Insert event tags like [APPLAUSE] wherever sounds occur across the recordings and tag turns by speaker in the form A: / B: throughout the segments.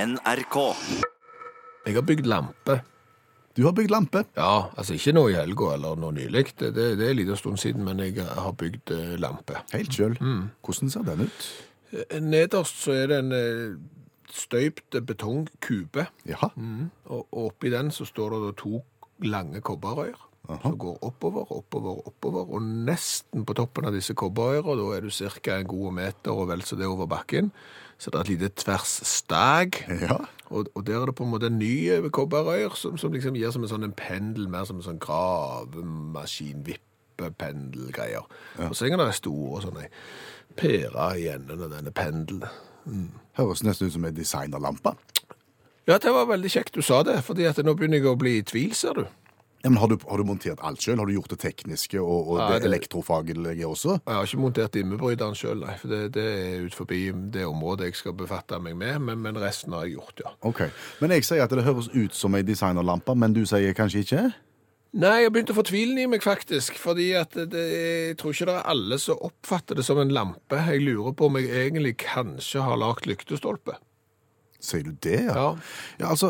A: NRK.
B: Jeg har bygd lampe.
C: Du har bygd lampe.
B: Ja, altså ikke nå i helga eller noe nylig. Det, det, det er en liten stund siden, men jeg har bygd eh, lampe.
C: Helt sjøl.
B: Mm.
C: Hvordan ser den ut?
B: Eh, Nederst så er det en eh, støypt betongkube,
C: Jaha.
B: og og oppi den så står det da to lange kobberrør. Som går oppover, oppover, oppover, og nesten på toppen av disse kobberøyene, da er du ca. en god meter og vel så det over bakken, så det er et lite tversstag.
C: Ja.
B: Og, og der er det på en måte en ny kobberøyer som, som liksom gir som en sånn en pendel, mer som en sånn gravemaskin-vippependelgreier. Og så henger det store sånne pærer i enden av denne pendelen.
C: Høres nesten ut som ei designerlampe.
B: Ja, det var veldig kjekt du sa det, fordi at nå begynner jeg å bli i tvil, ser du.
C: Ja, men har du, har du montert alt sjøl? Har du gjort det tekniske og, og
B: Ja,
C: det
B: det-
C: elektrofaglige også?
B: Jeg har ikke montert immebryteren sjøl, nei, for det, det er ut forbi det området jeg skal befatte meg med, men, men resten har jeg gjort, ja.
C: Ok. Men jeg sier at det høres ut som ei designerlampe, men du sier kanskje ikke?
B: Nei, jeg begynte å få tvilen i meg, faktisk. fordi at det, det, jeg tror ikke det er alle som oppfatter det som en lampe. Jeg lurer på om jeg egentlig kanskje har lagd lyktestolpe.
C: Sier du det, ja?
B: Ja.
C: Ja, altså,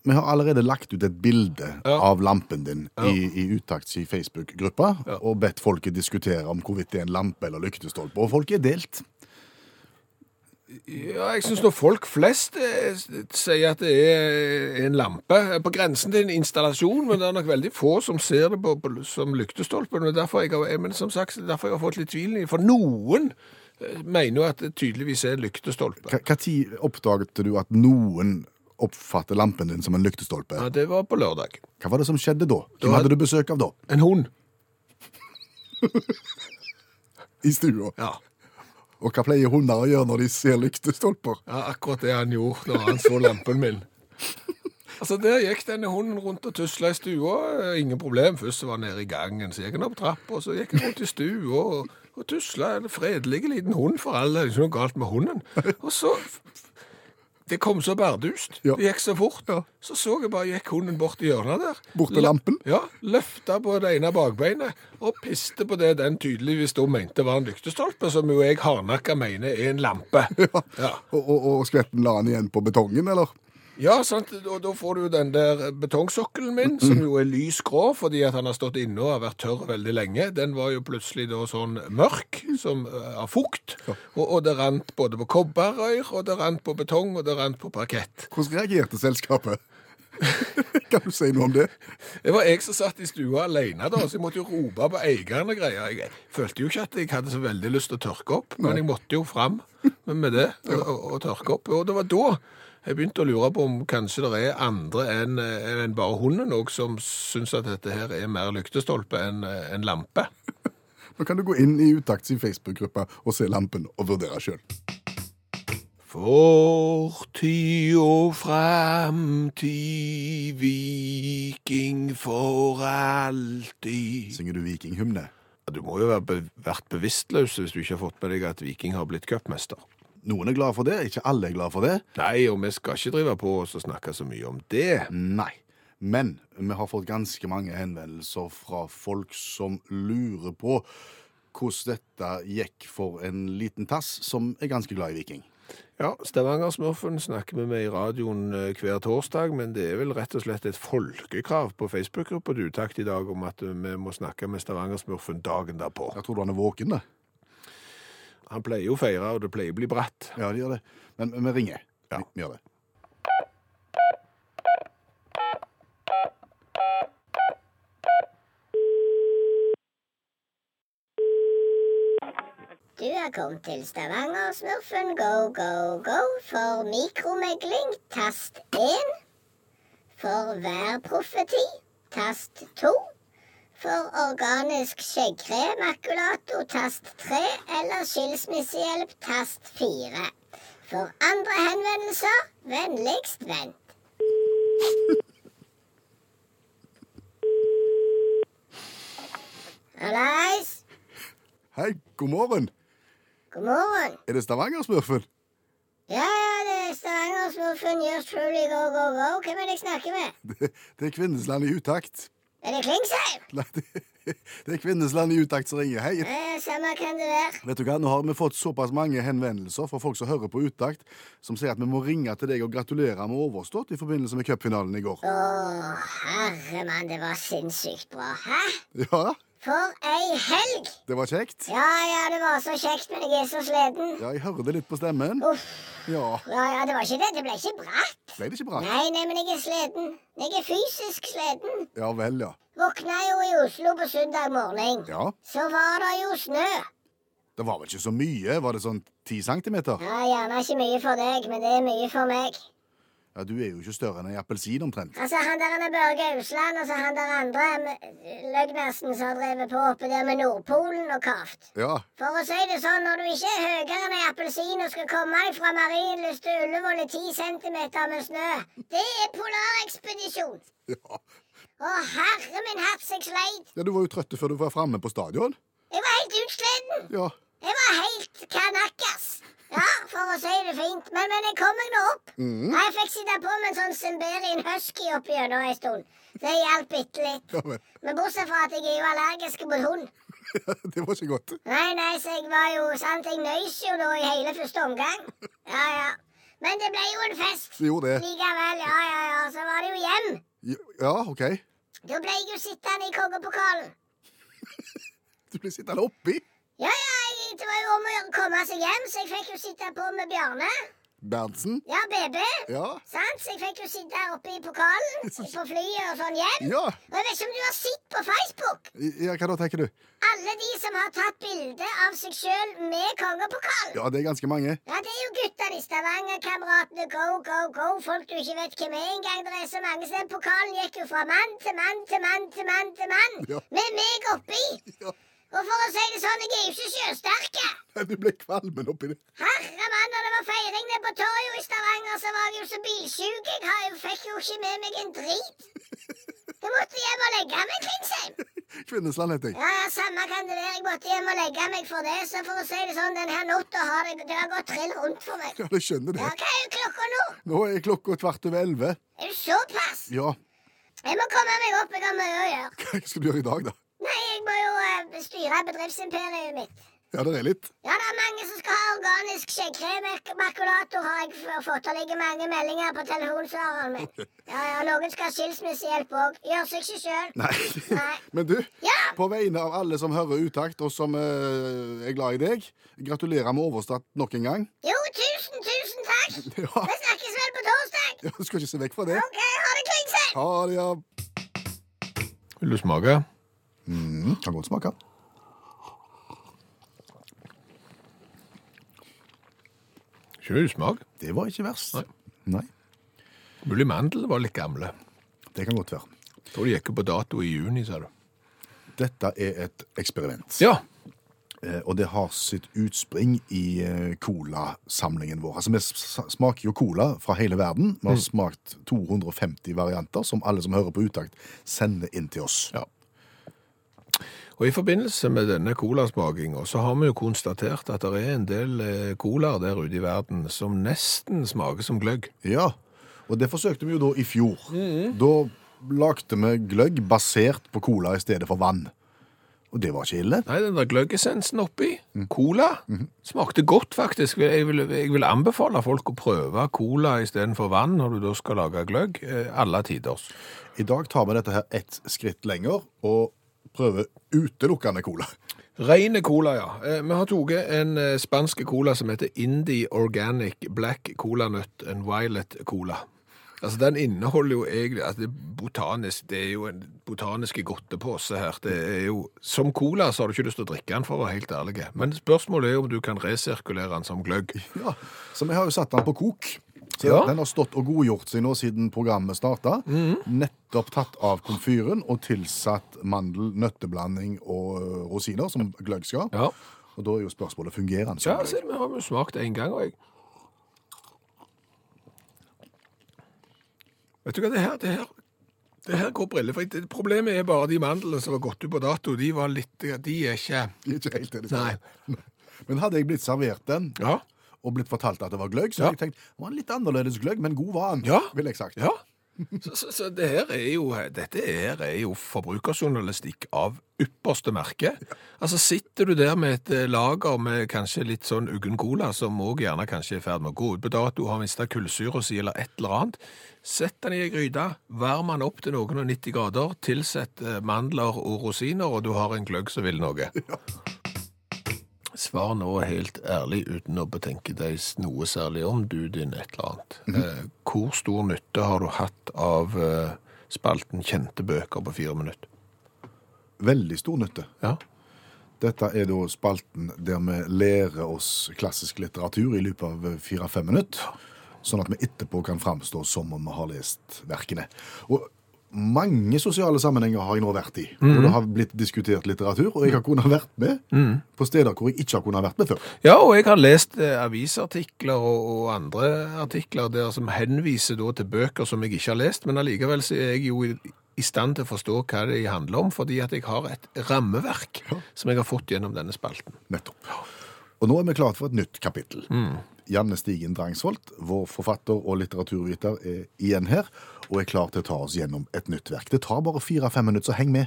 C: vi har allerede lagt ut et bilde
B: Ja.
C: av lampen din i, i Utakts i Facebook-gruppa, og bedt folket diskutere om hvorvidt det er en lampe eller lyktestolpe, og folk er delt.
B: Ja, jeg syns når folk flest eh, s- sier at det er en lampe eh, På grensen til en installasjon, men det er nok veldig få som ser det på, på, som lyktestolpe. Men det er derfor jeg har, eh, men som sagt, det er derfor jeg har fått litt tvilen i For noen eh, mener jo at det tydeligvis er en lyktestolpe.
C: Hva- hva tid oppdaget du at noen oppfatter lampen din som en lyktestolpe?
B: Ja, det var på lørdag.
C: Hva var det som skjedde da? Hvem
B: Da-
C: hadde du besøk av da?
B: En hund.
C: I stua?
B: Ja.
C: Og hva pleier hunder å gjøre når de ser lyktestolper?
B: Ja, akkurat det han gjorde da han så lampen min. Altså, Der gikk denne hunden rundt og tusla i stua. eh, Ingen problem. Først så var han nede i gangen, så gikk han opp trappa, og så gikk han rundt i stua og, og tusla. En fredelig liten hund for alle. Det er ikke noe galt med hunden. Og så Det kom så bardust.
C: Ja.
B: Det gikk så fort.
C: Ja.
B: Så så jeg bare gikk hunden bort i hjørnet der.
C: Bort til
B: La-
C: lampen?
B: Ja. Løfta på det ene bakbeinet og piste på det den tydeligvis da mente var en lyktestolpe, som jo jeg hardnakka mener er en lampe. Ja.
C: Og, og, og skvetten la han igjen på betongen, eller?
B: Ja, sant. Og da får du jo den der betongsokkelen min, som jo er lys grå fordi at han har stått inne og har vært tørr veldig lenge. Den var jo plutselig da sånn mørk som eh, av fukt. Og, og det rant både på kobberrør, og det rant på betong, og det rant på parkett.
C: Hvordan reagerte selskapet? [LAUGHS] kan du si noe om det?
B: Det var jeg som satt i stua alene da, så jeg måtte jo rope på eieren og greier. Jeg følte jo ikke at jeg hadde så veldig lyst til å tørke opp, men jeg måtte jo fram med- med det og, og, og tørke opp. Og det var da jeg begynte å lure på om kanskje det er andre enn eh, enn bare hunden òg som syns at dette her er mer lyktestolpe enn en lampe.
C: Nå kan du gå inn i Utakts i Facebook-gruppa og se lampen og vurdere sjøl.
B: Fortid og framtid, viking for alltid.
C: Synger du vikinghymne?
B: Ja, Du må jo være be vært bevisstløs hvis du ikke har fått med deg at Viking har blitt cupmester.
C: Noen er glad for det, ikke alle er glad for det.
B: Nei, og vi skal ikke drive på oss og snakke så mye om det.
C: Nei. Men vi har fått ganske mange henvendelser fra folk som lurer på hvordan dette gikk for en liten tass som er ganske glad i viking.
B: Ja, Stavanger-smurfen snakker vi med i radioen eh, hver torsdag, men det er vel rett og slett et folkekrav på Facebook-gruppa du takt i dag om at eh, vi må snakke med Stavanger-smurfen dagen derpå.
C: Jeg tror du han er våken, det.
B: Han pleier jo å feire, og det pleier å bli bratt.
C: Ja, de gjør det. Men vi ringer. Vi, vi gjør det.
D: Du er kommet til Stavanger, smurfen go, go, go for mikromegling, tast 1. For værprofeti, tast 2. For organisk skjeggkrem, akkulato, tast 3. Eller skilsmissehjelp, tast 4. For andre henvendelser, vennligst vent. Hallais!
C: Hei, god morgen.
D: God morgen.
C: Er det Stavanger-smurfen? [LAUGHS]
D: Ja, ja, det er Stavanger-smurfen. Yours truly, go, go, go. Hvem er det jeg snakker med?
C: Det, det er Kvinnesland i utakt. [LAUGHS]
D: Er det Klingsheim?
C: Nei, det, det er Kvinnesland i utakt som ringer. Hei,
D: Eh, samme kan det være.
C: Vet du hva, Nå har vi fått såpass mange henvendelser fra folk som hører på Utakt, som sier at vi må ringe til deg og gratulere med overstått i forbindelse med cupfinalen i går.
D: Å, herre mann, det var sinnssykt bra. Hæ?
C: Ja,
D: For ei helg!
C: det var kjekt.
D: Ja, ja, det var så kjekt, men jeg er så sliten.
C: Ja, jeg hører det litt på stemmen.
D: Uff.
C: Ja,
D: Ja, ja, det var ikke det. Det ble ikke bratt.
C: ble det ikke bra?
D: Nei, nei, men jeg er sliten. Jeg er fysisk sliten.
C: Ja vel, ja.
D: Våkna jo i Oslo på søndag morgen.
C: Ja,
D: Så var det jo snø.
C: Det var vel ikke så mye? Var det sånn ti centimeter?
D: Ja, Gjerne ikke mye for deg, men det er mye for meg.
C: Ja, du er jo ikke større enn ei appelsin omtrent.
D: Altså, han der han er Børge Ausland, og så han der andre eh, løgnersen som har drevet på oppe der med Nordpolen og kavt.
C: Ja,
D: For å si det sånn, når du ikke er høyere enn ei appelsin og skal komme deg fra Marienlyst til Ullevål i ti centimeter med snø, det er polarekspedisjon.
C: ja.
D: Å, herre min hatt, så jeg sleit.
C: ja du var jo trøtt før du var framme på stadion.
D: Jeg var helt utsliten.
C: Ja,
D: Jeg var helt kanakkas. Ja, for å si det fint. Men, men jeg kom meg nå opp. Og Jeg fikk sitte på med en sånn Semberian husky opp gjennom en stund. Det hjalp bitte litt.
C: ja vel. [LAUGHS]
D: Men bortsett fra at jeg er jo allergisk mot hund.
C: Det var ikke godt.
D: Nei, nei, så jeg var jo sant, jeg nøys jo da i hele første omgang. Ja, ja. Men det ble jo en fest.
C: Det gjorde det.
D: Likevel, ja, ja, ja. Så var det jo hjem.
C: Ja, OK.
D: Da ble jeg jo sittende i kongepokalen.
C: Du ble sittende oppi.
D: Ja, ja, jeg, det var jo om å gjøre å komme seg hjem, så jeg fikk jo sitte på med Bjarne.
C: Berntsen.
D: Ja, BB.
C: Ja.
D: Sant? Så jeg fikk jo sitte oppe i pokalen på flyet og sånn hjem.
C: Ja.
D: Og jeg vet ikke om du har sett på Facebook
C: ja, hva da, tenker du?
D: alle de som har tatt bilde av seg sjøl med kongepokalen.
C: Ja, det er ganske mange.
D: Ja, det er jo guttene i Stavanger, kameratene go, go, go. Folk du ikke vet hvem er engang. Det er så mange som den pokalen gikk jo fra mann til mann til mann til mann til mann.
C: Ja.
D: Med meg oppi.
C: Ja.
D: Og for å si det sånn, jeg er jo ikke sjøsterke.
C: Du ble kvalmen oppi det.
D: Herre mann, når det var feiring nede på torget i Stavanger, så var jeg jo så bilsjuk. Jeg har jo, fikk jo ikke med meg en drit. Jeg måtte hjem og legge meg, Klingsheim.
C: Kvinnesland heter jeg.
D: Ja, ja, samme kan det være. Jeg måtte hjem og legge meg for det. Så for å si det sånn, den her natta har det, det har gått trill rundt for meg.
C: Ja, du skjønner
D: Ja,
C: det.
D: hva er jo klokka nå?
C: Nå er klokka kvart over elleve.
D: Er du såpass?
C: Ja,
D: Jeg må komme meg opp. Jeg har mye å gjøre.
C: [LAUGHS] hva skal du gjøre i dag, da?
D: Nei, jeg må jo eh, styre bedriftsimperiet mitt.
C: Ja, det er litt.
D: Ja, det er mange som skal ha organisk skjeggkrem. Mak- Makulator har jeg f- fått. Det ligger mange meldinger på telefonsvareren min. Ja, ja, Noen skal ha skilsmissehjelp òg. Gjør seg ikke sjøl.
C: Nei.
D: Nei.
C: [LAUGHS] Men du,
D: Ja!
C: på vegne av alle som hører Utakt, og som eh, er glad i deg, gratulerer med overstått nok en gang. [LAUGHS]
D: Jo, tusen, tusen takk!
C: Ja,
D: Vi snakkes vel på torsdag?
C: ja, du skal ikke se vekk fra det.
D: OK, ha det, Klingsheim!
C: Ha det, ja.
B: Vil du smake?
C: Mm, kan godt smake.
B: Ikke usmak.
C: Det var ikke verst.
B: Nei.
C: Nei,
B: Mulig mandel var litt gamle.
C: det kan godt være.
B: Tror de gikk jo på dato i juni, sa du.
C: Dette er et eksperiment.
B: Ja.
C: Eh, Og det har sitt utspring i eh, colasamlingen vår. Altså, vi s- smaker jo cola fra hele verden. Vi har smakt 250 varianter, som alle som hører på Utakt, sender inn til oss.
B: Ja. Og i forbindelse med denne colasmakinga, så har vi jo konstatert at det er en del eh, colaer der ute i verden som nesten smaker som gløgg.
C: Ja, og det forsøkte vi jo da i fjor. Da lagde vi gløgg basert på cola i stedet for vann. Og det var ikke ille.
B: Nei, den der gløggessensen oppi, cola, smakte godt faktisk. Jeg vil, jeg vil anbefale folk å prøve cola istedenfor vann når du da skal lage gløgg, eh, alle tiders.
C: I dag tar vi dette her ett skritt lenger og prøver utelukkende cola.
B: Reine cola, ja. Eh, Vi har tatt en eh, spansk cola som heter Indie Organic Black Cola Nut and Violet Cola. Altså, Den inneholder jo egentlig altså, det er botanisk, det er jo en botaniske godtepose her. Det er jo, Som cola så har du ikke lyst til å drikke den, for å være helt ærlig. Men spørsmålet er om du kan resirkulere den som gløgg.
C: Ja, Så vi har jo satt den på kok. Så
B: Ja.
C: Den har stått og godgjort seg nå siden programmet starta. Nettopp tatt av komfyren og tilsatt mandel, nøtteblanding og ø, rosiner, som gløgg skal.
B: Ja.
C: Og da er jo spørsmålet fungerer den som
B: Ja,
C: gløgg.
B: se, vi har jo smakt en gang, og jeg Vet du hva, det her, det her, det her går brillefritt. Det- Problemet er bare de mandlene som var gått ut på dato. De var litt De er ikke
C: Det er Ikke helt det de skal.
B: Nei.
C: [LAUGHS] Men hadde jeg blitt servert den,
B: Ja.
C: og blitt fortalt at det var gløgg, så
B: Ja.
C: hadde jeg tenkt det var en litt annerledes gløgg, men god var den.
B: Ja.
C: Vil jeg sagt.
B: ja. Så, så, så det her er jo, dette her er jo forbrukerjournalistikk av ypperste merke. Altså Sitter du der med et eh, lager med kanskje litt sånn uggen cola, som òg gjerne kanskje er i ferd med å gå ut på dato, har mista kullsyra si eller et eller annet, sett den i ei gryte, varm den opp til noen og 90 grader, tilsett eh, mandler og rosiner, og du har en gløgg som vil noe. Svar nå helt ærlig, uten å betenke deg noe særlig om du, din et eller annet. eh, hvor stor nytte har du hatt av eh, spalten Kjente bøker på fire minutter?
C: Veldig stor nytte.
B: Ja.
C: Dette er da spalten der vi lærer oss klassisk litteratur i løpet av eh, fire-fem minutter, sånn at vi etterpå kan framstå som om vi har lest verkene. Og mange sosiale sammenhenger har jeg nå vært i,
B: Mhm.
C: hvor det har blitt diskutert litteratur, og jeg har kunnet vært med på steder hvor jeg ikke har kunnet vært med før.
B: ja, og jeg har lest eh, avisartikler og, og andre artikler der som henviser da til bøker som jeg ikke har lest, men allikevel så er jeg jo i, i stand til å forstå hva de handler om, fordi at jeg har et rammeverk som jeg har fått gjennom denne spalten.
C: Nettopp. Og nå er vi klare for et nytt kapittel. Janne Stigen Drangsvold, vår forfatter og litteraturviter, er igjen her og er klar til å ta oss gjennom et nytt verk. Det tar bare fire-fem minutter, så heng med.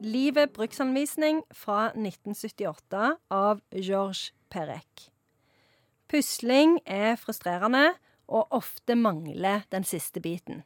A: Livet bruksanvisning fra 1978 av Georges Perec. Pusling er frustrerende, og ofte mangler den siste biten.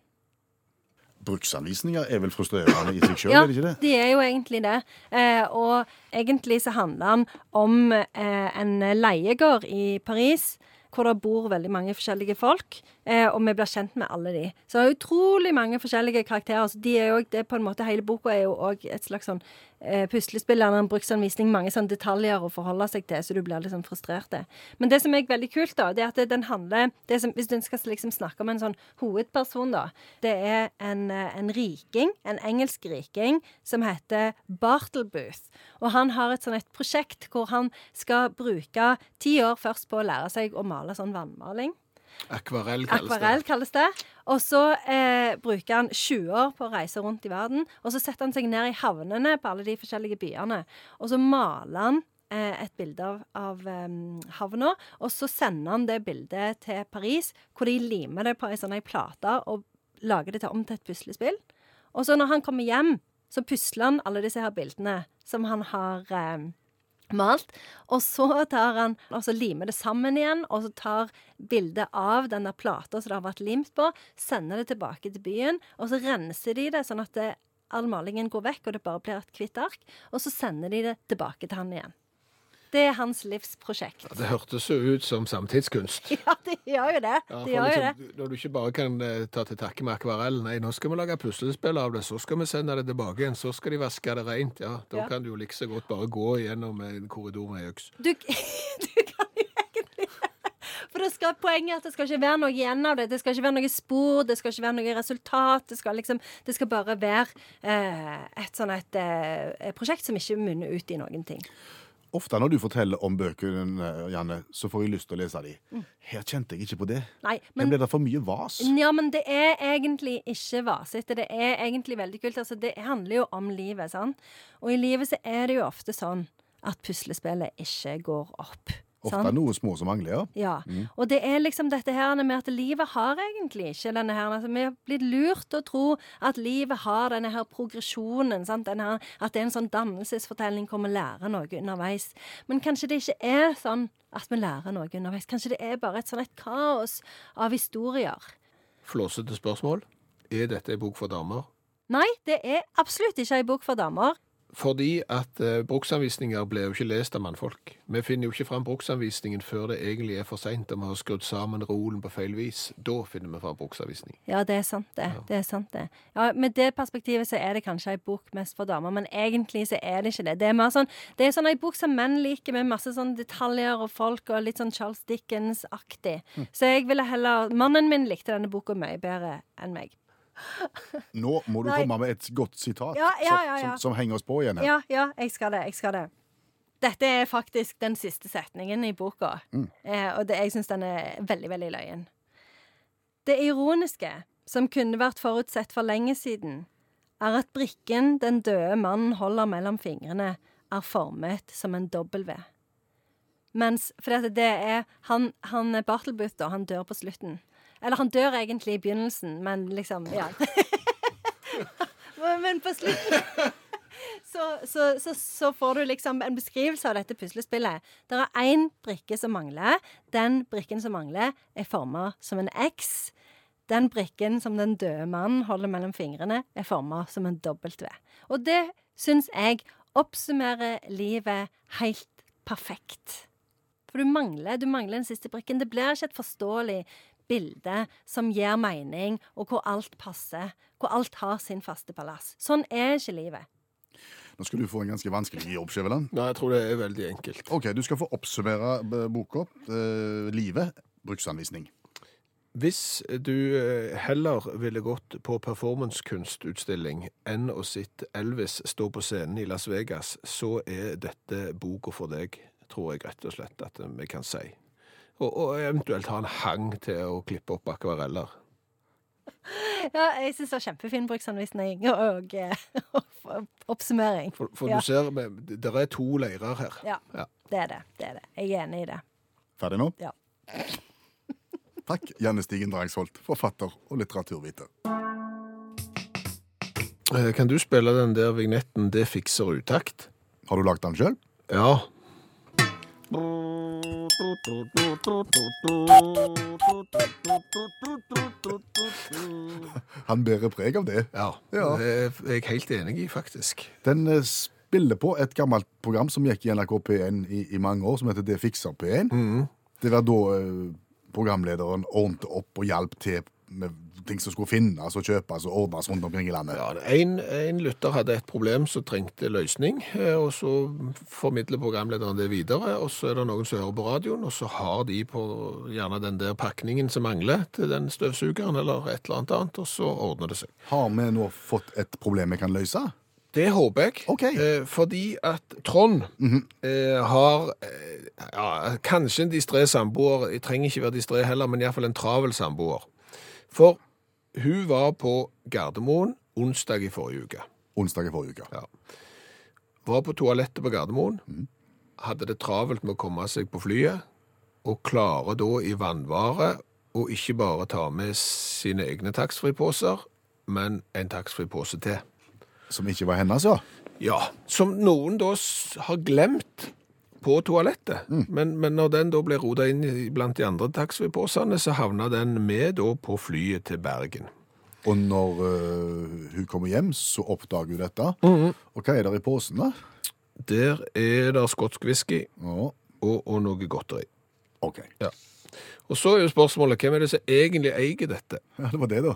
C: Bruksanvisninger er vel frustrerende i seg sjøl,
A: Ja,
C: er det ikke det?
A: de er jo egentlig det. Eh, og egentlig så handler den om eh, en leiegård i Paris. Hvor det bor veldig mange forskjellige folk, eh, og vi blir kjent med alle de. Så det er utrolig mange forskjellige karakterer. Så de er jo, det er på en måte, hele boka er jo òg et slags sånn eh, puslespill eller en bruksanvisning. Mange sånn detaljer å forholde seg til, så du blir litt sånn frustrert. det. Men det som er veldig kult, da, det er at den handler det som, Hvis du skal liksom snakke om en sånn hovedperson, da, det er en, eh, en riking, en engelsk riking, som heter Bartlebooth. Og han har et sånn et prosjekt hvor han skal bruke ti år først på å lære seg å male sånn vannmaling.
B: Akvarell kalles
A: Akvarell
B: det.
A: kalles det. Og så eh, bruker han 20 år på å reise rundt i verden. Og så setter han seg ned i havnene på alle de forskjellige byene. Og så maler han eh, et bilde av, av em, havna, og så sender han det bildet til Paris, hvor de limer det på ei sånn ei plate og lager det til om til et puslespill. Og så når han kommer hjem, så pusler han alle disse her bildene som han har ehm, em, malt. Og så tar han og så limer det sammen igjen, og så tar bildet av den der plata som det har vært limt på, sender det tilbake til byen, og så renser de det sånn at det, all malingen går vekk, og det bare blir et hvitt ark. Og så sender de det tilbake til han igjen. Det er hans livsprosjekt. [LAUGHS]
B: Ja, Det hørtes jo ut som samtidskunst.
A: Ja, de gjør jo det.
B: Ja,
A: De
B: for
A: gjør jo det.
B: liksom, Når du ikke bare kan eh, ta til takke med akvarell Nei, nå skal vi lage puslespill av det, så skal vi sende det tilbake igjen, så skal de vaske det rent. Ja, da
A: Ja.
B: kan du jo like så godt bare gå gjennom en korridor med ei øks.
A: Du, [LAUGHS] du kan jo egentlig [LAUGHS] For det skal, poenget er at det skal ikke være noe igjen av det. Det skal ikke være noe spor, det skal ikke være noe resultat. Det skal, liksom, det skal bare være eh, et sånn et eh, prosjekt som ikke munner ut i noen ting.
C: Ofte når du forteller om bøkene, Janne, så får jeg lyst til å lese de. Her kjente jeg ikke på det.
A: Mm. Nei,
C: Her
A: men Mm,
C: ble det for mye vas.
A: Ja, men det er egentlig ikke vasete. Det er egentlig veldig kult. Altså, det handler jo om livet, sant? Og i livet så er det jo ofte sånn at puslespillet ikke går opp. sant?
C: Ofte noe små som mangler, ja.
A: Ja. Og det er liksom dette her med at livet har egentlig ikke denne her altså, Vi har blitt lurt til å tro at livet har denne her progresjonen. Sant? Den her, at det er en sånn dannelsesfortelling hvor vi lærer noe underveis. Men kanskje det ikke er sånn at vi lærer noe underveis. Kanskje det er bare et sånn et kaos av historier.
B: Flåsete spørsmål. Er dette ei bok for damer?
A: Nei, det er absolutt ikke ei bok for damer.
B: Fordi at eh, bruksanvisninger ble jo ikke lest av mannfolk. Vi finner jo ikke fram bruksanvisningen før det egentlig er for seint, og vi har skrudd sammen rolen på feil vis. Da finner vi fram bruksanvisning.
A: Ja, det er sant, det. det, er sant det. Ja, med det perspektivet så er det kanskje ei bok mest for damer, men egentlig så er det ikke det. Det er mer sånn, det er sånn ei bok som menn liker, med masse sånn detaljer og folk, og litt sånn Charles Dickens-aktig. Så jeg ville heller Mannen min likte denne boka mye bedre enn meg.
C: Nå må du
A: Nei.
C: komme med et godt sitat
A: Ja, ja,
C: som-
A: ja, ja.
C: Som, som henger oss på igjen her.
A: Ja, ja, jeg skal det. Jeg skal det. Dette er faktisk den siste setningen i boka, eh, og det, jeg syns den er veldig, veldig løyen. Det ironiske, som kunne vært forutsett for lenge siden, er at brikken den døde mannen holder mellom fingrene, er formet som en W. Mens, for det, det er han, han er Bartlebooth, da. Han dør på slutten. Eller han dør egentlig i begynnelsen, men liksom Ja. [LAUGHS] men men på slutten så, så, så, så får du liksom en beskrivelse av dette puslespillet. Det er én brikke som mangler. Den brikken som mangler, er forma som en X. Den brikken som den døde mannen holder mellom fingrene, er forma som en W. Og det syns jeg oppsummerer livet helt perfekt. For du mangler, du mangler den siste brikken. Det blir ikke et forståelig bilde som gir mening, og hvor alt passer. Hvor alt har sin faste palass. Sånn er ikke livet.
C: Nå skal du få en ganske vanskelig jobb, Skjæveland.
B: Nei, jeg tror det er veldig enkelt.
C: Ok, du skal få oppsummere eh, boka. eh, livet. Bruksanvisning.
B: Hvis du eh, heller ville gått på performancekunstutstilling enn å sitte Elvis stå på scenen i Las Vegas, så er dette boka for deg, tror jeg rett og slett at vi kan si. Og, og eventuelt ha en hang til å klippe opp akvareller.
A: Ja, jeg syns det var kjempefin bruksanvisning og, eh, [LAUGHS] og oppsummering.
B: For, for
A: Ja.
B: du ser, det der er to leirer her.
A: Ja.
B: Ja.
A: Det er det. det er det. Jeg er enig i det.
C: Ferdig nå?
A: Ja.
C: Takk, Janne Stigen Drangsholt, forfatter og litteraturviter.
B: Eh, Kan du spille den der vignetten 'Det fikser utakt'?
C: Har du lagd den sjøl?
B: Ja.
C: Han bærer preg av det.
B: ja.
C: Ja.
B: Det er jeg helt enig i, faktisk.
C: Den eh, spiller på et gammelt program som gikk i NRK P1 i, i mange år, som heter Det fikser P1.
B: Mhm.
C: Det var da eh, programlederen ordnet opp og hjalp til med ting som skulle finnes og kjøpes og ordnes rundt omkring i landet.
B: Ja, en, en lytter hadde et problem som trengte løsning, eh, og så formidler programlederen det videre, og så er det noen som hører på radioen, og så har de på gjerne den der pakningen som mangler til den støvsugeren, eller et eller annet annet, og så ordner det seg.
C: Har vi nå fått et problem vi kan løse?
B: Det håper jeg.
C: Ok.
B: Eh, fordi at Trond eh, har eh, ja, kanskje en distré samboer. Jeg trenger ikke være distré heller, men iallfall en travel samboer. For hun var på Gardermoen onsdag i forrige uke.
C: Onsdag i forrige uke.
B: Ja. Var på toalettet på Gardermoen. Hadde det travelt med å komme seg på flyet, og klarer da i vannvare å ikke bare ta med sine egne taxfree-poser, men en taxfree-pose til.
C: Som ikke var hennes, ja.
B: Ja, som noen da s- har glemt på toalettet. Men, men når den da ble roda inn i- blant de andre taxfree-posene, så havna den med da på flyet til Bergen.
C: Og når eh, hun kommer hjem, så oppdager hun dette.
B: Mhm.
C: Og hva er det i posen, da?
B: Der er det skotsk whisky
C: Ja,
B: og, og noe godteri.
C: OK. [LAUGHS]
B: Og så er jo spørsmålet hvem er det som egentlig eier dette?
C: Ja, det var det, da.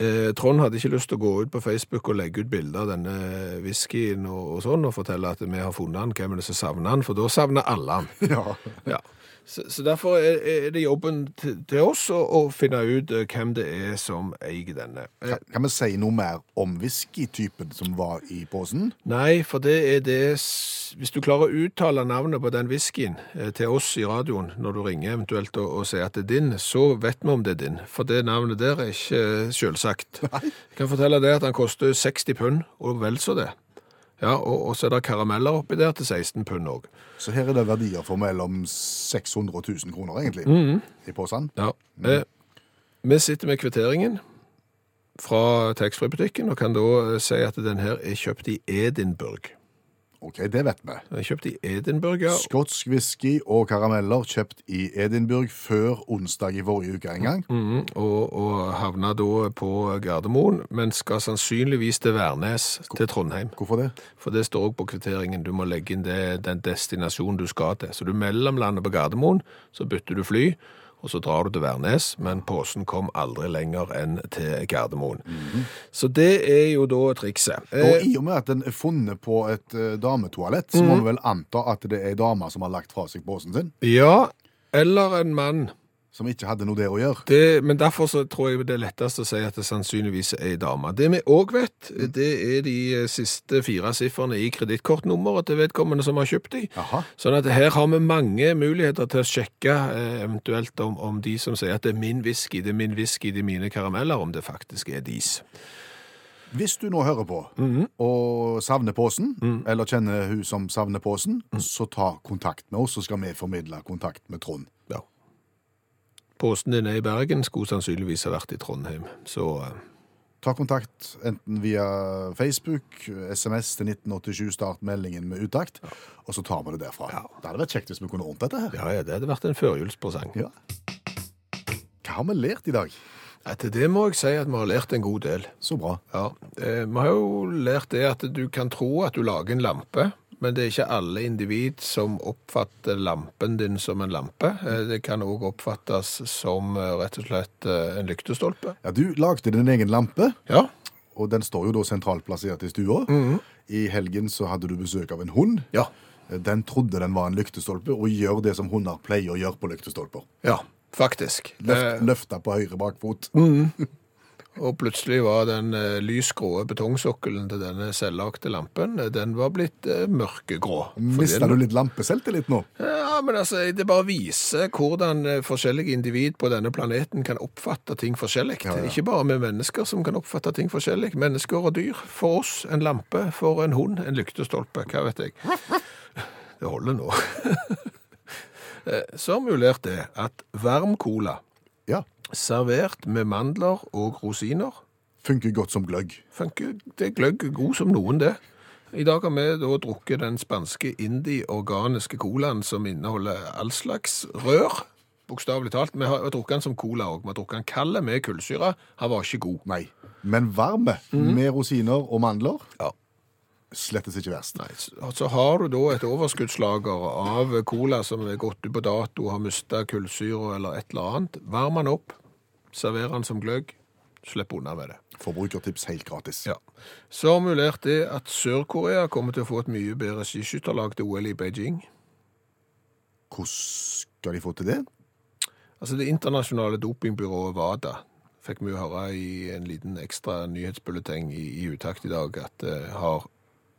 B: Eh, Trond hadde ikke lyst til å gå ut på Facebook og legge ut bilder av denne whiskyen og, og sånn, og fortelle at vi har funnet han, hvem er det som savner han, for da savner alle han.
C: Ja.
B: Ja. Så, så derfor er, er det jobben til, til oss å, å finne ut eh, hvem det er som eier denne. Eh,
C: Kan, kan vi si noe mer om whiskytypen som var i posen?
B: nei, for det er det s- Hvis du klarer å uttale navnet på den whiskyen eh, til oss i radioen når du ringer eventuelt og, og sier at det er din, så vet vi om det er din. For det navnet der er ikke eh, selvsagt. Jeg kan fortelle deg at den koster 60 pund, og vel så det. Ja, og, og så er det karameller oppi der til 16 pund òg.
C: Så her er det verdier for mellom 600 og 1000 kroner, egentlig,
B: Mhm.
C: i posen.
B: Ja. Eh, vi sitter med kvitteringen fra taxfree-butikken og kan da eh, si at den her er kjøpt i Edinburgh.
C: OK, det vet vi.
B: Den er kjøpt i Edinburgh, ja.
C: Skotsk whisky og karameller kjøpt i Edinburgh før onsdag i forrige uke en gang.
B: Mhm, og, og havna da på Gardermoen, men skal sannsynligvis til Værnes, til Trondheim.
C: Hvorfor det?
B: For det står òg på kvitteringen. Du må legge inn det, den destinasjonen du skal til. Så du mellomlander på Gardermoen, så bytter du fly, og så drar du til Værnes. Men posen kom aldri lenger enn til Gardermoen. Så det er jo da trikset.
C: Og i og med at den er funnet på et eh, dametoalett,
B: Mhm.
C: så må vi vel anta at det er ei dame som har lagt fra seg posen sin,
B: Ja, eller en mann.
C: som ikke hadde noe der å gjøre.
B: Det, men derfor så tror jeg det er lettest å si at det sannsynligvis er ei dame. Det vi òg vet, det er de eh, siste fire sifrene i kredittkortnummeret til vedkommende som har kjøpt de.
C: Jaha.
B: Sånn at her har vi mange muligheter til å sjekke eh, eventuelt om, om de som sier at det er min whisky, det er min whisky, det er mine karameller, om det faktisk er deres.
C: Hvis du nå hører på og savner posen, eller kjenner hun som savner posen, så ta kontakt med oss, så skal vi formidle kontakt med Trond.
B: Ja. Posten din er i Bergen, skulle sannsynligvis ha vært i Trondheim. Så eh,
C: Ta kontakt enten via Facebook, SMS til 1987, start meldingen med utakt, og så tar vi det derfra. Det hadde vært kjekt hvis vi kunne ordnet dette her.
B: ja, ja, det hadde vært en førjulspresang.
C: Ja. Hva har vi lært i dag?
B: Etter det må jeg si at vi har lært en god del.
C: Så bra.
B: Ja, eh, Vi har jo lært det at du kan tro at du lager en lampe, men det er ikke alle individ som oppfatter lampen din som en lampe. Eh, Det kan òg oppfattes som eh, rett og slett eh, en lyktestolpe.
C: Ja, du lagde din egen lampe,
B: Ja,
C: og den står jo da sentralt plassert i stua. I helgen så hadde du besøk av en hund.
B: ja,
C: Den trodde den var en lyktestolpe, og gjør det som hunder pleier å gjøre på lyktestolper.
B: ja, faktisk.
C: Løft, løfta på høyre bakfot.
B: Mm. Eh, Og plutselig var den eh, lysgrå betongsokkelen til denne selvlagte lampen, eh, den var blitt eh, mørkegrå.
C: Mista du litt lampeselvtillit nå?
B: Ja, men altså, det bare viser hvordan eh, forskjellige individ på denne planeten kan oppfatte ting forskjellig. Ikke bare med mennesker som kan oppfatte ting forskjellig. Mennesker og dyr. For oss en lampe, for en hund en lyktestolpe. Hva vet jeg. Det holder nå. [LAUGHS] Eh, Så har vi jo lært det at varm cola
C: Ja.
B: servert med mandler og rosiner
C: Funker godt som gløgg.
B: funker. Det er gløgg god som noen, det. I dag har vi da drukket den spanske indi-organiske colaen som inneholder all slags rør. Bokstavelig talt. Vi har drukket den som cola òg. Vi har drukket den kald med kullsyre. Han var ikke god.
C: Nei. Men varme med rosiner og mandler
B: Mm. Ja.
C: slettes ikke verst.
B: Nei, så- så har du da et overskuddslager av cola som er gått ut på dato, har mista kullsyre eller et eller annet. Varm den opp, server den som gløgg, slipp unna med det.
C: Forbrukertips helt gratis.
B: Ja. Så har vi lært det at Sør-Korea kommer til å få et mye bedre skiskytterlag til OL i Beijing.
C: Hvordan skal de få til det?
B: Altså Det internasjonale dopingbyrået WADA fikk vi jo høre i en liten ekstra nyhetsbulleteng i, i utakt i dag at det har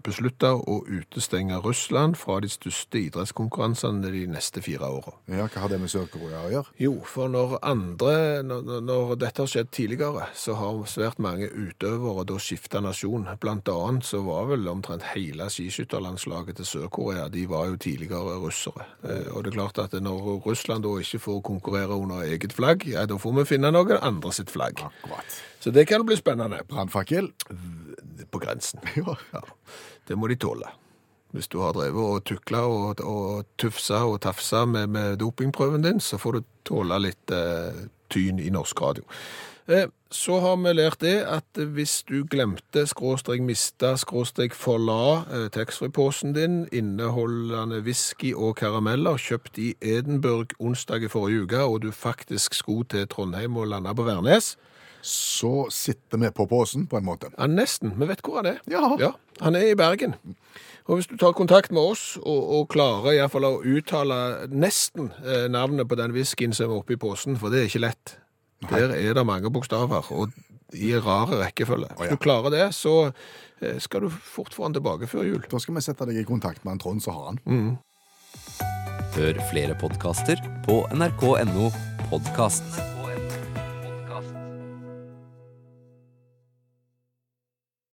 B: beslutta å utestenge Russland fra de største idrettskonkurransene de neste fire åra.
C: Ja, Hva har det med Sør-Korea å gjøre?
B: Jo, for når andre, når, når- når dette har skjedd tidligere, så har svært mange utøvere da skifta nasjon. Blant annet så var vel omtrent hele skiskytterlandslaget til Sør-Korea, de var jo tidligere russere. Eh, Og det er klart at når Russland da ikke får konkurrere under eget flagg, ja, da får vi finne noen andre sitt flagg.
C: Akkurat.
B: Så det kan bli spennende.
C: Brannfakkel?
B: På grensen.
C: [LAUGHS] Ja.
B: Ja, det må de tåle. Hvis du har drevet og tukla og, og tufsa og tafsa med, med dopingprøven din, så får du tåle litt eh, tyn i norsk radio. Eh, så har vi lært det at hvis du glemte, skråstrek mista, skråstrek forla eh, taxfree-posen din inneholdende whisky og karameller kjøpt i Edinburgh onsdag i forrige uke, og du faktisk skulle til Trondheim og landa på Værnes
C: Så sitter vi på posen, på en måte.
B: ja, Nesten. Vi vet hvor han er.
C: Ja.
B: Han er i Bergen. Og hvis du tar kontakt med oss og, og klarer i hvert fall å uttale nesten eh, navnet på den whiskyen som er oppi posen, for det er ikke lett. Der er det mange bokstaver, og i rar rekkefølge. Hvis du klarer det, så eh, skal du fort få han tilbake før jul.
C: Da skal vi sette deg i kontakt med en Trond, så har han.
E: Hør flere podkaster på nrk.no podkast.